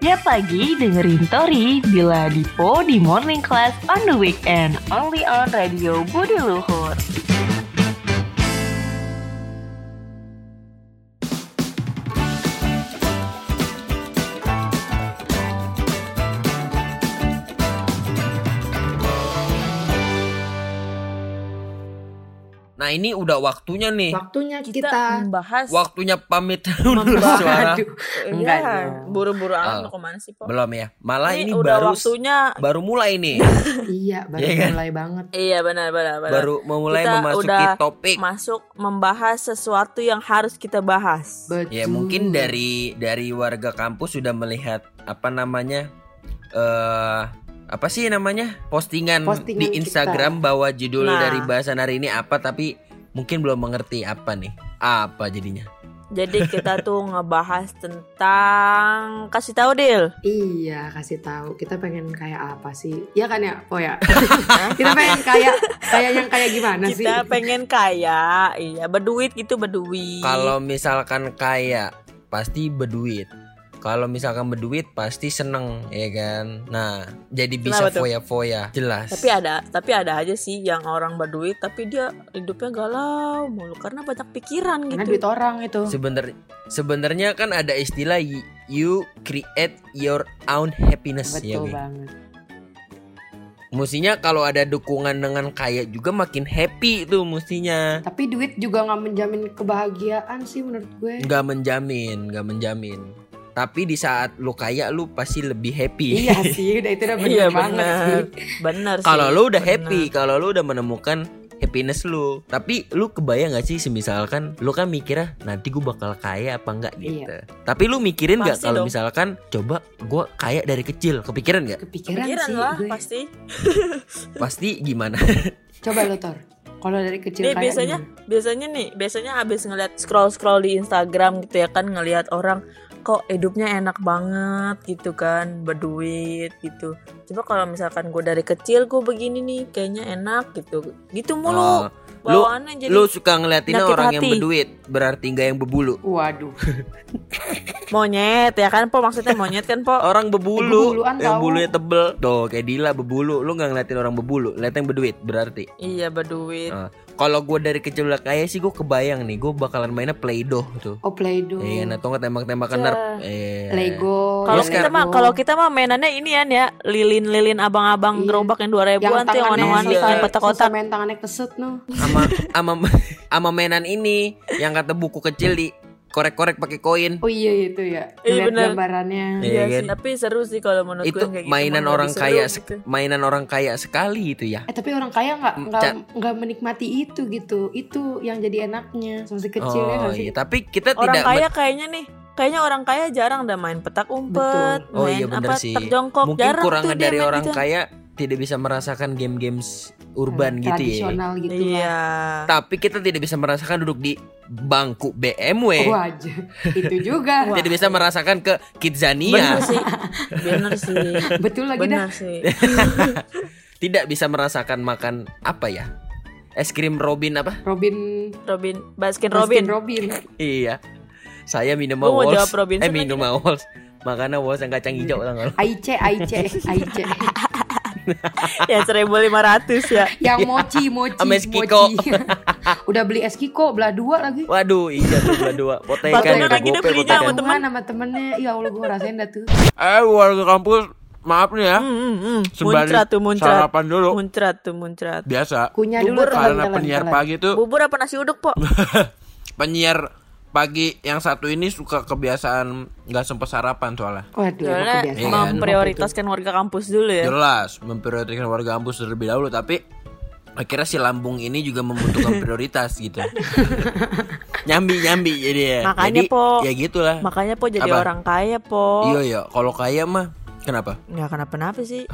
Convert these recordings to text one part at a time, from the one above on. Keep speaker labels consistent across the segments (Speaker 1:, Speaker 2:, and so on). Speaker 1: Tiap pagi dengerin Tori bila Dipo di Morning Class on the weekend. Only on Radio Budi Luhur.
Speaker 2: Nah ini udah waktunya nih.
Speaker 3: Waktunya Eh, kita,
Speaker 4: kita, membahas
Speaker 2: Waktunya pamit undur suara.
Speaker 4: enggak
Speaker 3: Enggak dong.
Speaker 4: buru-buru
Speaker 2: Ah.
Speaker 4: amat mau kemana sih Pok?
Speaker 2: Belum ya. Malah ini,
Speaker 4: udah
Speaker 2: baru
Speaker 4: waktunya
Speaker 2: baru mulai nih.
Speaker 3: Iya, baru
Speaker 2: Iya kan?
Speaker 3: mulai banget.
Speaker 4: iya benar benar benar
Speaker 2: baru memulai
Speaker 4: Kita
Speaker 2: memasuki
Speaker 4: udah
Speaker 2: topik.
Speaker 4: masuk membahas sesuatu yang harus kita bahas
Speaker 3: Betul.
Speaker 2: Ya mungkin dari dari warga kampus sudah melihat apa namanya eh apa sih namanya postingan,
Speaker 3: Postingan
Speaker 2: di
Speaker 3: kita.
Speaker 2: Instagram bahwa judul
Speaker 4: Nah.
Speaker 2: dari bahasan hari ini apa tapi mungkin belum mengerti apa nih apa jadinya.
Speaker 4: jadi kita tuh ngebahas tentang kasih tahu deal
Speaker 3: Iya, kasih tahu. Kita pengen kayak apa sih? Iya kan ya? Oh ya. kita pengen kayak kayak yang kayak gimana sih?
Speaker 4: kita pengen kaya iya berduit gitu berduit
Speaker 2: Kalau misalkan kaya pasti berduit. Kalau misalkan berduit pasti seneng ya kan. Nah jadi bisa
Speaker 4: Kenapa tuh?
Speaker 2: foya-foya jelas.
Speaker 4: tapi ada tapi ada aja sih yang orang berduit tapi dia hidupnya galau mulu karena banyak pikiran
Speaker 3: Karena
Speaker 4: gitu
Speaker 3: duit orang itu.
Speaker 2: Sebener sebenarnya kan ada istilah y- you create your own happiness ya. Wi.
Speaker 3: Betul banget.
Speaker 2: Mestinya kalau ada dukungan dengan kaya juga makin happy itu mestinya.
Speaker 3: Tapi duit juga nggak menjamin kebahagiaan sih menurut gue.
Speaker 2: Nggak menjamin, nggak menjamin. Tapi di saat lu kaya lu pasti lebih happy.
Speaker 3: iya sih, udah itu udah bener
Speaker 4: Iya,
Speaker 3: banget
Speaker 4: bener.
Speaker 3: sih.
Speaker 4: bener sih,
Speaker 2: kalau lu udah
Speaker 4: bener.
Speaker 2: happy, kalau lu udah menemukan happiness lu. Tapi lu kebayang gak sih semisalkan lu kan mikirnya nanti gue bakal kaya apa enggak gitu. Tapi lu mikirin nggak
Speaker 4: Iya. Pasti
Speaker 2: kalau
Speaker 4: dong.
Speaker 2: misalkan coba gue kaya dari kecil, kepikiran nggak?
Speaker 3: Kepikiran,
Speaker 4: pikiran
Speaker 3: sih
Speaker 4: lah
Speaker 3: gue.
Speaker 4: pasti
Speaker 2: Pasti gimana?
Speaker 3: Coba lo Tor. Kalau dari kecil kayak
Speaker 4: Nih, Eh, biasanya- biasanya nih biasanya abis ngeliat scroll scroll di Instagram gitu ya kan ngelihat orang kok hidupnya enak banget gitu kan berduit gitu coba kalau misalkan gue dari kecil gue begini nih kayaknya enak gitu gitu mulu
Speaker 2: Oh, lu-
Speaker 4: bawaannya jadi
Speaker 2: lu suka ngeliatin
Speaker 4: Nyakit
Speaker 2: orang yang
Speaker 4: hati.
Speaker 2: berduit berarti nggak yang berbulu.
Speaker 3: Waduh.
Speaker 4: monyet ya kan po maksudnya monyet kan po
Speaker 2: Orang berbulu
Speaker 3: Berbuluan
Speaker 2: yang
Speaker 3: tahu.
Speaker 2: bulunya tebel. Tuh kayak Dila berbulu, lu nggak ngeliatin orang berbulu, ngeliatin yang berduit berarti.
Speaker 4: iya berduit
Speaker 2: Ah. Kalau gue dari kecil udah kaya sih gue kebayang nih, gue bakalan mainnya Play-Doh tuh.
Speaker 3: Oh Play-Doh.
Speaker 2: Iya,
Speaker 4: Hmm.
Speaker 2: nah, atau nggak tembak-tembakan nar. Eh.
Speaker 3: Lego.
Speaker 4: kalau
Speaker 2: Terus
Speaker 4: kita
Speaker 3: Lego.
Speaker 4: mah kalau kita mah mainannya ini ya, ya lilin-lilin abang-abang
Speaker 3: Iya.
Speaker 4: gerobak yang dua ribuan tuh yang
Speaker 3: tangannya iya.
Speaker 4: warna-warni
Speaker 3: susah-
Speaker 4: yang kotak-kotak
Speaker 3: susah main tangannya keset noh.
Speaker 2: Ama ama ama mainan ini yang kata buku kecil di korek-korek pakai koin.
Speaker 3: Oh iya itu ya. Lihat
Speaker 4: Iya, bener.
Speaker 3: gambarannya.
Speaker 2: Iya,
Speaker 4: Iya
Speaker 2: kan?
Speaker 4: sih, tapi seru sih kalau menurut
Speaker 2: itu
Speaker 4: gue kayak gitu
Speaker 2: mainan
Speaker 4: mah
Speaker 2: orang
Speaker 4: lebih seru
Speaker 2: kaya,
Speaker 4: gitu.
Speaker 2: sek- mainan orang kaya sekali itu ya.
Speaker 3: Eh tapi orang kaya nggak
Speaker 2: Mm,
Speaker 3: nggak
Speaker 2: Ca-
Speaker 3: nggak menikmati itu gitu. Itu yang jadi enaknya masih kecil ya
Speaker 2: oh
Speaker 3: nggak sih?
Speaker 2: iya, tapi kita
Speaker 4: Orang
Speaker 2: tidak men-
Speaker 4: kaya kayaknya nih, kayaknya orang kaya jarang dah main petak umpet,
Speaker 2: Betul. Oh,
Speaker 4: kan main
Speaker 2: iya bener
Speaker 4: apa
Speaker 2: sih.
Speaker 4: terjongkok,
Speaker 2: mungkin
Speaker 4: jarang
Speaker 2: kurangnya
Speaker 4: tuh dia
Speaker 2: dari
Speaker 4: main
Speaker 2: orang
Speaker 4: gitu.
Speaker 2: kaya tidak bisa merasakan game-game
Speaker 4: Hmm,
Speaker 2: urban gitu ya.
Speaker 3: Tradisional gitu lah.
Speaker 4: Iya.
Speaker 2: Tapi kita tidak bisa merasakan duduk di bangku BMW.
Speaker 3: Wajah Oh, itu juga.
Speaker 4: Wah.
Speaker 2: Tidak bisa merasakan ke
Speaker 4: Bener
Speaker 2: Kidzania.
Speaker 4: sih, bener sih,
Speaker 3: Betul lagi dah.
Speaker 4: bener sih.
Speaker 2: Tidak bisa merasakan makan apa ya? Es krim Robin apa?
Speaker 3: Robin
Speaker 4: Robin, Baskin
Speaker 3: Baskin
Speaker 4: Robin.
Speaker 3: Robin.
Speaker 2: Iya. Saya minum
Speaker 4: Gua mau
Speaker 2: Walls.
Speaker 4: jawab
Speaker 2: eh
Speaker 4: Robinson lagi
Speaker 2: minum Walls. Makanya Walls yang kacang hijau tau nggak lu?
Speaker 3: Aice Aice eh, Aice.
Speaker 4: ya 1500 ya.
Speaker 3: Yang mochi mochi
Speaker 2: Iya. Sama es Kiko.
Speaker 3: mochi. Udah beli es Kiko belah dua lagi.
Speaker 2: Waduh, iya tuh dua dua. Potekan
Speaker 4: Bahkan
Speaker 2: ya,
Speaker 4: lagi dia
Speaker 2: gope,
Speaker 4: belinya sama
Speaker 2: potekan.
Speaker 4: temen.
Speaker 3: Teman sama temennya Ya Allah gue ngerasain dah tuh
Speaker 2: Eh, warga kampus, maaf nih ya.
Speaker 4: Hmm, hmm, hmm.
Speaker 2: Sembari
Speaker 4: Muncrat tuh muncrat.
Speaker 2: Sarapan dulu.
Speaker 4: Muncrat tuh muncrat.
Speaker 2: Biasa.
Speaker 3: Kunyah dulu
Speaker 4: Bubur
Speaker 3: telan,
Speaker 2: karena
Speaker 3: telan,
Speaker 2: penyiar
Speaker 3: telan.
Speaker 2: pagi tuh
Speaker 4: Bubur apa nasi uduk, Po?
Speaker 2: penyiar pagi yang satu ini suka kebiasaan nggak sempet sarapan soalnya
Speaker 3: Waduh emang
Speaker 4: Soalnya
Speaker 3: kebiasaan
Speaker 2: Iya.
Speaker 4: memprioritaskan warga kampus dulu ya.
Speaker 2: jelas memprioritaskan warga kampus terlebih dahulu tapi akhirnya si lambung ini juga membutuhkan prioritas gitu nyambi nyambi jadi ya
Speaker 4: Makanya,
Speaker 2: Jadi,
Speaker 4: Po.
Speaker 2: ya gitulah
Speaker 4: Makanya po jadi
Speaker 2: Apa?
Speaker 4: orang kaya po.
Speaker 2: iya iya kalau kaya mah kenapa
Speaker 4: Nggak kenapa-napa sih.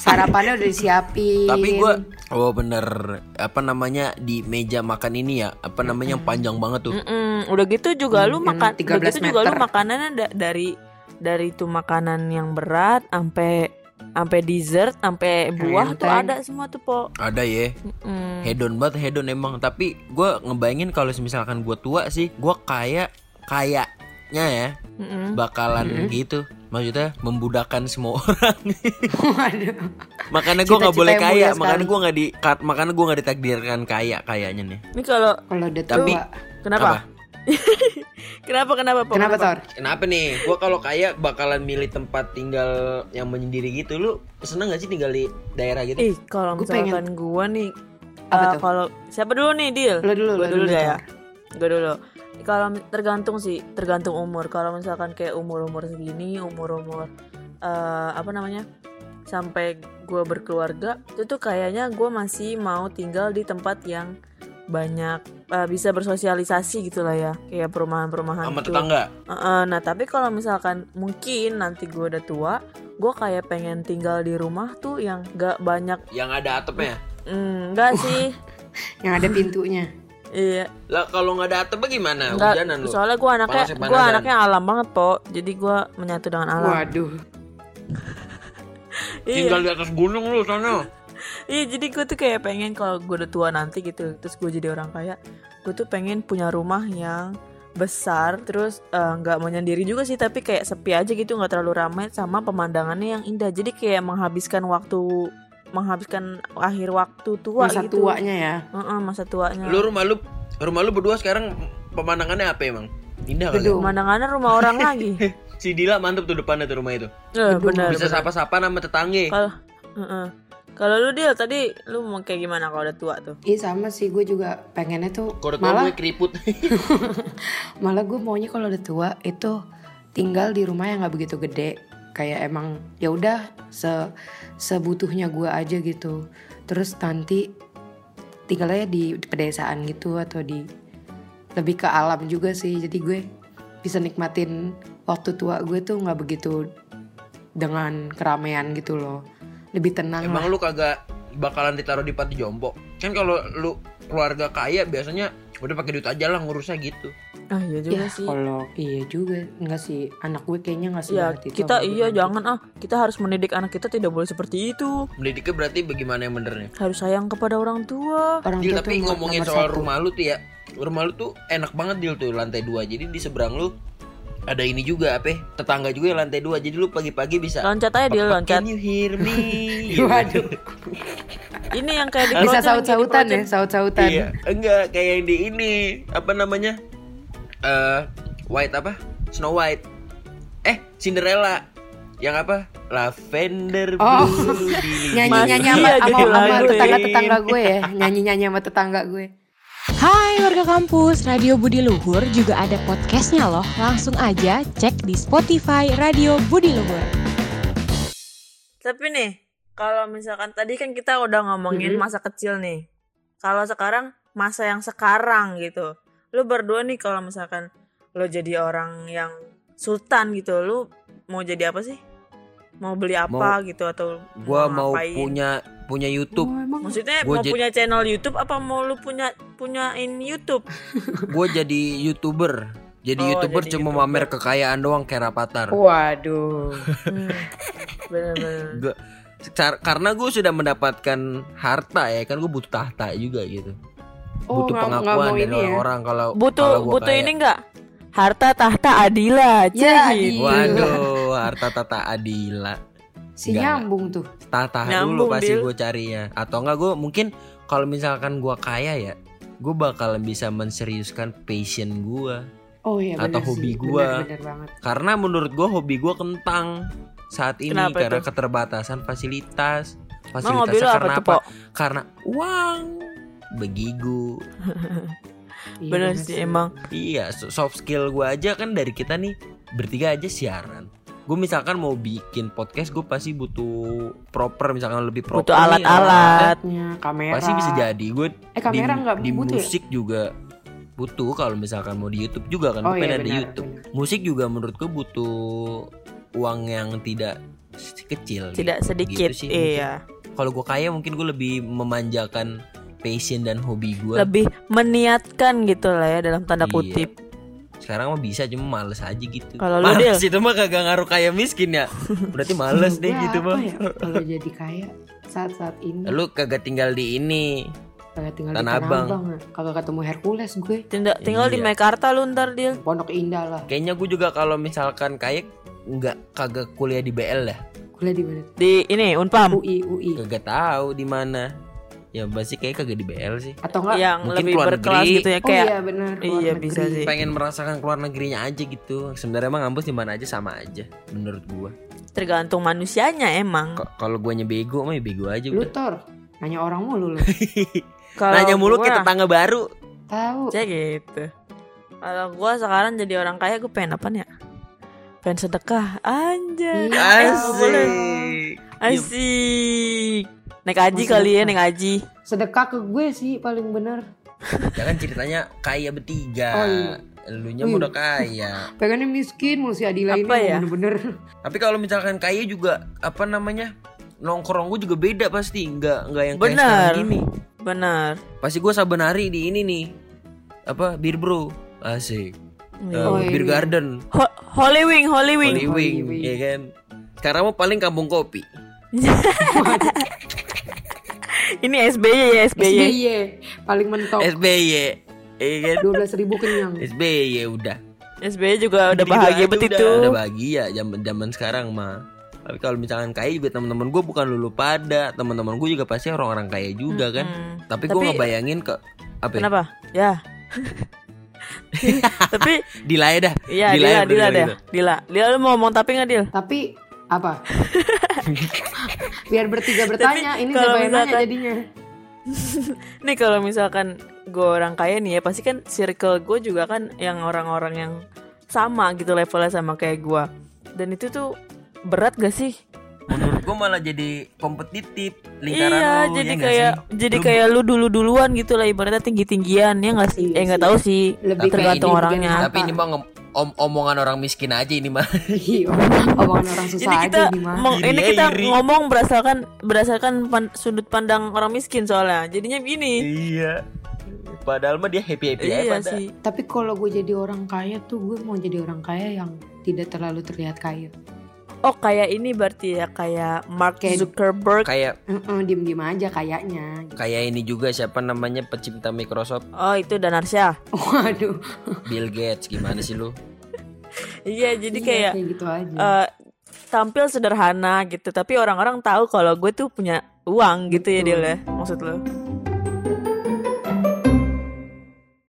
Speaker 3: Sarapannya udah disiapin
Speaker 2: tapi gue oh bener apa namanya di meja makan ini ya apa namanya yang panjang banget tuh
Speaker 4: Mm, udah gitu juga lu
Speaker 3: Yang
Speaker 4: makan, udah
Speaker 3: 13
Speaker 4: gitu juga lu
Speaker 3: meter.
Speaker 4: makanannya da- dari dari itu makanan yang berat sampai sampai dessert sampai buah tuh
Speaker 3: enteng.
Speaker 4: ada semua tuh po.
Speaker 2: ada ya
Speaker 4: Mm.
Speaker 2: hedon banget hedon emang tapi gue ngebayangin kalau misalkan gue tua sih gue kaya kayaknya ya
Speaker 4: Mm-mm.
Speaker 2: bakalan gitu maksudnya membudakan semua orang
Speaker 3: Waduh.
Speaker 2: makanya gue nggak
Speaker 3: Cita-cita
Speaker 2: boleh
Speaker 3: yang
Speaker 2: kaya
Speaker 3: mulia
Speaker 2: makanya
Speaker 3: sekali.
Speaker 2: gue nggak di kat- makanya gue nggak ditakdirkan kaya kayaknya nih
Speaker 4: Ini kalau
Speaker 3: Kalau udah tua,
Speaker 2: Tapi- Apa?
Speaker 4: kenapa? kenapa kenapa Pop?
Speaker 3: kenapa Tor?
Speaker 2: Kenapa nih? Gua kalau kaya bakalan milih tempat tinggal yang menyendiri gitu. Lu seneng gak sih tinggal di daerah gitu?
Speaker 4: Ih, kalau
Speaker 3: Gua
Speaker 4: misalkan gua nih
Speaker 3: Apa
Speaker 4: eh,
Speaker 3: tuh?
Speaker 4: Kalau siapa dulu nih, Deal?
Speaker 3: Lo dulu,
Speaker 4: Gua
Speaker 3: lo dulu,
Speaker 4: dulu dah ya.
Speaker 3: Tor.
Speaker 4: Gue dulu. Kalau mi- tergantung sih, tergantung umur. Kalau misalkan kayak umur-umur segini, umur-umur eh, apa namanya? Sampai gue berkeluarga, itu tuh kayaknya gue masih mau tinggal di tempat yang banyak eh, bisa bersosialisasi gitu lah ya, kayak perumahan-perumahan
Speaker 2: Sama
Speaker 4: gitu.
Speaker 2: tetangga.
Speaker 4: Heeh, nah tapi kalau misalkan mungkin nanti gue udah tua, gue kayak pengen tinggal di rumah tuh yang gak banyak,
Speaker 2: Yang ada atapnya.
Speaker 4: mm, enggak sih,
Speaker 3: Yang ada pintunya.
Speaker 4: iya
Speaker 2: Lah kalau nggak ada atapnya gimana?
Speaker 4: Enggak,
Speaker 2: Hujanan lu.
Speaker 4: soalnya gue anaknya
Speaker 2: Panasnya kan?
Speaker 4: gue
Speaker 2: panasan.
Speaker 4: anaknya alam banget po jadi gue menyatu dengan
Speaker 2: Nah.
Speaker 4: alam
Speaker 3: Waduh.
Speaker 4: iya,
Speaker 2: Tinggal di atas gunung lu sana.
Speaker 4: iya jadi gue tuh kayak pengen kalau gue udah tua nanti gitu terus gue jadi orang kaya gue tuh pengen punya rumah yang besar terus eh, nggak menyendiri juga sih tapi kayak sepi aja gitu nggak terlalu ramai sama pemandangannya yang indah jadi kayak menghabiskan waktu menghabiskan akhir waktu tua
Speaker 3: Masa
Speaker 4: gitu
Speaker 3: tuanya ya.
Speaker 4: Heeh, masa tuanya
Speaker 2: Lu rumah lu rumah lu berdua sekarang pemandangannya apa emang? Indah kali. ya? Eh,
Speaker 3: Gedung.
Speaker 4: pemandangannya rumah orang lagi
Speaker 2: Si Dila mantep tuh depannya tuh rumah itu.
Speaker 4: Eh, benar
Speaker 2: Bisa sapa-sapa nama tetangga.
Speaker 4: Kalau heeh. kalau lu deal tadi lu mau kayak gimana kalau udah tua tuh?
Speaker 3: Iya sama sih, gue juga pengennya tuh
Speaker 2: Kalau
Speaker 3: malah
Speaker 2: gue keriput.
Speaker 4: Iya.
Speaker 3: malah gue maunya kalau udah tua itu tinggal di rumah yang nggak begitu gede kayak emang ya udah se sebutuhnya gue aja gitu terus nanti tinggalnya di pedesaan gitu atau di lebih ke alam juga sih jadi gue bisa nikmatin waktu tua gue tuh nggak begitu dengan keramaian gitu loh lebih tenang lah
Speaker 2: Emang lu kagak bakalan ditaruh di panti jompo? Kan kalau lu keluarga kaya biasanya udah pakai duit aja lah ngurusnya gitu.
Speaker 4: Ah iya juga
Speaker 3: ya
Speaker 4: sih.
Speaker 3: kalau iya juga nggak sih anak gue kayaknya nggak
Speaker 4: Ya
Speaker 3: sebanget itu
Speaker 4: kita
Speaker 3: sama gue
Speaker 4: iya
Speaker 3: nanti.
Speaker 4: jangan ah kita harus mendidik anak kita tidak boleh seperti itu
Speaker 2: Mendidiknya berarti bagaimana yang benernya?
Speaker 4: harus sayang kepada orang tua.
Speaker 3: orang
Speaker 2: Dil,
Speaker 3: tua
Speaker 2: tapi
Speaker 3: tuh
Speaker 2: ngomongin
Speaker 3: nomor
Speaker 2: soal
Speaker 3: satu.
Speaker 2: rumah lu tuh ya Rumah lu tuh enak banget Dil tuh lantai dua Jadi di seberang lu ada ini juga apa ya, Tetangga juga yang lantai dua Jadi lu pagi-pagi bisa
Speaker 4: Loncat aja dia
Speaker 2: "Papa,
Speaker 4: loncat.
Speaker 2: Can you hear me? Gitu.
Speaker 3: ya, Waduh,
Speaker 4: Ini yang kayak di
Speaker 3: bisa
Speaker 4: Kroco, yang kayak di
Speaker 3: saut-sautan ya,
Speaker 4: Kroco.
Speaker 3: saut-sautan.
Speaker 2: Iya Enggak kayak yang di ini Apa namanya eh White apa? Snow White Eh Cinderella Yang apa? Lavender
Speaker 3: Oh.
Speaker 2: Blue Dili.
Speaker 3: Nyanyi-nyanyi sama,
Speaker 4: Mas, iya,
Speaker 3: sama,
Speaker 4: jadi
Speaker 3: sama
Speaker 4: lagu ya.
Speaker 3: tetangga-tetangga gue ya, nyanyi-nyanyi sama tetangga gue.
Speaker 5: Hai warga kampus, Radio Budi Luhur juga ada podcastnya loh. Langsung aja cek di Spotify Radio Budi Luhur.
Speaker 4: Tapi nih kalau misalkan tadi kan kita udah ngomongin
Speaker 2: Mm-hmm.
Speaker 3: Mhm.
Speaker 4: masa kecil nih. Kalau sekarang masa yang sekarang gitu. Lu berdua nih kalau misalkan lo jadi orang yang sultan gitu, lu mau jadi apa sih? Mau beli apa
Speaker 2: Mau-
Speaker 4: gitu atau
Speaker 2: Gua mau
Speaker 4: ngapain?
Speaker 2: punya punya YouTube
Speaker 3: Oh, emang
Speaker 4: Maksudnya
Speaker 2: Gua
Speaker 4: mau
Speaker 2: jadi-
Speaker 4: punya channel YouTube apa mau lu punya punyain YouTube?
Speaker 2: gue jadi youtuber jadi
Speaker 4: Oh,
Speaker 2: youtuber
Speaker 4: jadi
Speaker 2: cuma
Speaker 4: YouTuber.
Speaker 2: mamer kekayaan doang kayak Rapatar
Speaker 3: Waduh.
Speaker 4: Hmm, Bener-bener.
Speaker 2: Gua- car- karena gue sudah mendapatkan harta ya kan gue butuh tahta juga gitu
Speaker 3: Oh,
Speaker 2: butuh
Speaker 3: nggak- nggak
Speaker 2: pengakuan
Speaker 3: mau
Speaker 2: dari
Speaker 3: ini ya?
Speaker 2: orang-orang kalau kalau
Speaker 4: Butuh
Speaker 2: gua
Speaker 4: butuh
Speaker 2: kaya.
Speaker 4: ini enggak? Harta tahta Adila.
Speaker 3: Ya,
Speaker 4: cih.
Speaker 3: Adil.
Speaker 2: waduh harta tata adila
Speaker 3: Si
Speaker 2: Nggak.
Speaker 3: nyambung tuh.
Speaker 2: tahta dulu
Speaker 4: Nyambung,
Speaker 2: pasti
Speaker 4: Dil.
Speaker 2: gue cari ya atau enggak gue mungkin kalau misalkan gue kaya ya gue bakalan bisa menseriuskan passion gue
Speaker 3: Oh iya
Speaker 2: Atau
Speaker 3: benar
Speaker 2: hobi
Speaker 3: sih.
Speaker 2: gua.
Speaker 3: Bener, bener banget.
Speaker 2: karena menurut gue hobi gue kentang saat ini
Speaker 4: Kenapa
Speaker 2: karena
Speaker 4: tuh?
Speaker 2: keterbatasan fasilitas
Speaker 4: Emang hobi lu
Speaker 2: fasilitasnya
Speaker 4: apa
Speaker 2: karena
Speaker 4: tuh, Po?
Speaker 2: karena uang begigu
Speaker 3: Iya,
Speaker 4: Bener sih emang.
Speaker 2: iya so- soft skill gue aja kan dari kita nih bertiga aja siaran gue misalkan mau bikin podcast gue pasti butuh proper misalkan lebih proper
Speaker 4: Butuh
Speaker 2: nih
Speaker 4: alat-alat.
Speaker 3: Alatnya,
Speaker 2: alatnya.
Speaker 3: kamera.
Speaker 2: pasti bisa jadi gue
Speaker 3: Eh kamera
Speaker 2: di,
Speaker 3: nggak
Speaker 2: di
Speaker 3: butuh ya?
Speaker 2: musik juga butuh kalau misalkan mau di YouTube juga kan
Speaker 3: Oh
Speaker 2: gue
Speaker 3: iya
Speaker 2: pengen ada
Speaker 3: benar.
Speaker 2: YouTube
Speaker 3: benar.
Speaker 2: musik juga menurut gue butuh uang yang tidak kecil
Speaker 4: Tidak
Speaker 2: gitu.
Speaker 4: sedikit.
Speaker 2: Gitu sih mungkin.
Speaker 4: iya.
Speaker 2: kalau gue kaya mungkin gue lebih memanjakan passion dan hobi gue
Speaker 4: Lebih meniatkan gitu lah ya dalam tanda
Speaker 2: Iya.
Speaker 4: kutip.
Speaker 2: sekarang mah bisa cuma males aja gitu
Speaker 4: Kalau lu,
Speaker 2: males
Speaker 4: Dil?
Speaker 2: itu mah kagak ngaruh kaya miskin ya berarti males deh
Speaker 3: Gua
Speaker 2: gitu
Speaker 3: apa
Speaker 2: mah
Speaker 3: ya, Kalau jadi kaya saat-saat ini
Speaker 4: ya?
Speaker 2: lu kagak tinggal di ini
Speaker 3: kagak tinggal di
Speaker 2: Tanah
Speaker 3: Tanah
Speaker 2: Abang.
Speaker 3: Abang. Kagak ketemu Hercules gue.
Speaker 4: Tindak- tinggal di
Speaker 2: Iya.
Speaker 4: Mekarta lu ntar dia.
Speaker 3: Pondok Indah lah.
Speaker 2: kayaknya gue juga kalau misalkan kaya nggak kagak kuliah di BL dah
Speaker 3: kuliah di
Speaker 2: Hmm.
Speaker 3: mana?
Speaker 4: Di ini Unpam.
Speaker 3: UI UI
Speaker 2: kagak tahu di mana ya pasti kayak kagak di BL sih
Speaker 3: atau enggak?
Speaker 4: yang
Speaker 2: Mungkin
Speaker 4: lebih
Speaker 2: keluar
Speaker 4: berkelas
Speaker 2: negeri.
Speaker 4: gitu ya
Speaker 3: oh
Speaker 4: kayak
Speaker 3: iya benar. luar
Speaker 4: iya, bisa
Speaker 3: negeri.
Speaker 4: sih.
Speaker 2: pengen merasakan keluar negerinya aja gitu sebenarnya emang ngampus di mana aja sama aja menurut gua
Speaker 4: tergantung manusianya emang.
Speaker 2: Ko- kalau gua bego mah ya bego aja
Speaker 3: Lu
Speaker 2: udah
Speaker 3: Tor, nanya orang mulu lu.
Speaker 4: Kalau
Speaker 2: nanya mulu
Speaker 4: gua-
Speaker 2: ke tetangga baru
Speaker 3: Tahu.
Speaker 4: aja gitu kalau gua sekarang jadi orang kaya gue pengen apa ya pengen sedekah anjay
Speaker 3: Iya,
Speaker 4: Eh, boleh.
Speaker 2: asik
Speaker 4: asik naik haji
Speaker 3: Mau
Speaker 4: kali ya
Speaker 3: sedekah.
Speaker 4: naik haji
Speaker 3: Sedekah ke gue sih paling bener.
Speaker 2: ya kan ceritanya kaya bertiga
Speaker 3: Oh, iya.
Speaker 2: elunya
Speaker 3: Wih.
Speaker 2: mah udah kaya
Speaker 3: Pengennya miskin mulu si Adila ini
Speaker 4: Apa ya?
Speaker 3: bener-bener.
Speaker 2: tapi kalau misalkan kaya juga apa namanya nongkrong gua juga beda pasti nggak nggak yang kayak
Speaker 4: bener
Speaker 2: sekarang gini
Speaker 4: bener
Speaker 2: pasti gua saben hari di ini nih apa bir bro asik Eh,
Speaker 3: Oh,
Speaker 2: bir
Speaker 3: iya.
Speaker 2: garden
Speaker 4: Ho- Holy Wing Holy Wing
Speaker 2: Holy Wing,
Speaker 3: Holy Wing.
Speaker 2: ya kan. Sekarang mah paling kampung kopi.
Speaker 4: ini SBY ya SBY
Speaker 3: SBY paling
Speaker 4: Oh.
Speaker 3: mentok.
Speaker 4: Eh.
Speaker 2: SBY, ya kan.
Speaker 3: 12.000 ribu kenyang.
Speaker 2: SBY udah.
Speaker 4: SBY juga udah
Speaker 2: Gitu
Speaker 4: bahagia
Speaker 2: aja
Speaker 4: betul
Speaker 2: udah.
Speaker 4: tuh
Speaker 2: Udah bahagia zaman zaman sekarang mah. Tapi kalau misalkan kaya juga teman-teman gue bukan lulu pada, teman-teman gue juga pasti orang-orang kaya juga kan.
Speaker 4: Mm-mm.
Speaker 2: Tapi, gua
Speaker 4: Tapi-
Speaker 2: gue ngebayangin ke apa ya?
Speaker 4: kenapa ya tapi
Speaker 2: Dila ya dah.
Speaker 4: iya
Speaker 2: Dila ya,
Speaker 4: Dila Dila
Speaker 2: bener-bener
Speaker 4: deh Dila Dila lu mau ngomong tapi nggak Dil
Speaker 3: Tapi apa? Biar bertiga bertanya,
Speaker 4: Tapi
Speaker 3: ini
Speaker 4: kalau
Speaker 3: siapa yang nanya
Speaker 4: misalkan-
Speaker 3: jadinya?
Speaker 4: Nih kalau misalkan gue orang kaya nih ya pasti kan circle gue juga kan yang orang-orang yang sama gitu levelnya sama kayak gue Dan itu tuh berat gak sih?
Speaker 2: Menurut gue malah jadi kompetitif lingkaran
Speaker 4: iya
Speaker 2: lu,
Speaker 4: jadi
Speaker 2: ya nggak
Speaker 4: kayak
Speaker 2: sih?
Speaker 4: jadi
Speaker 2: Lu-
Speaker 4: kayak lu dulu duluan gitu lah ibaratnya tinggi tinggian ya nggak sih?
Speaker 3: Iya
Speaker 4: eh nggak
Speaker 3: sih.
Speaker 4: tahu sih
Speaker 2: Tapi
Speaker 3: Lebih
Speaker 4: tergantung
Speaker 3: kayak
Speaker 4: orangnya.
Speaker 3: apa?
Speaker 2: Tapi ini mah ngom- om- omongan orang miskin aja ini mah.
Speaker 3: Iya, omongan orang susah
Speaker 4: Jadi kita
Speaker 3: aja gimana?
Speaker 4: mau- ini
Speaker 2: Iri ya,
Speaker 4: kita
Speaker 2: iri.
Speaker 4: ngomong berdasarkan berdasarkan pan- sudut pandang orang miskin soalnya jadinya begini.
Speaker 2: iya. Padahal mah dia happy happy aja.
Speaker 4: Iya
Speaker 2: pada.
Speaker 4: sih.
Speaker 3: Tapi kalau gue jadi orang kaya tuh gue mau jadi orang kaya yang tidak terlalu terlihat kaya.
Speaker 4: Oh kayak ini berarti ya kayak Mark
Speaker 3: Kayak-
Speaker 4: Zuckerberg.
Speaker 2: Kayak
Speaker 3: Heeh, diem-diem aja kayaknya.
Speaker 2: kayak ini juga siapa namanya pecinta Microsoft
Speaker 4: Oh itu Danarsyah.
Speaker 3: Waduh.
Speaker 2: Bill Gates gimana sih lu?
Speaker 4: Iya jadi
Speaker 3: Iya,
Speaker 4: kayak
Speaker 3: gitu aja.
Speaker 4: eh tampil sederhana gitu tapi orang-orang tahu kalau gue tuh punya uang gitu ya
Speaker 3: Betul.
Speaker 4: Dil ya maksud lo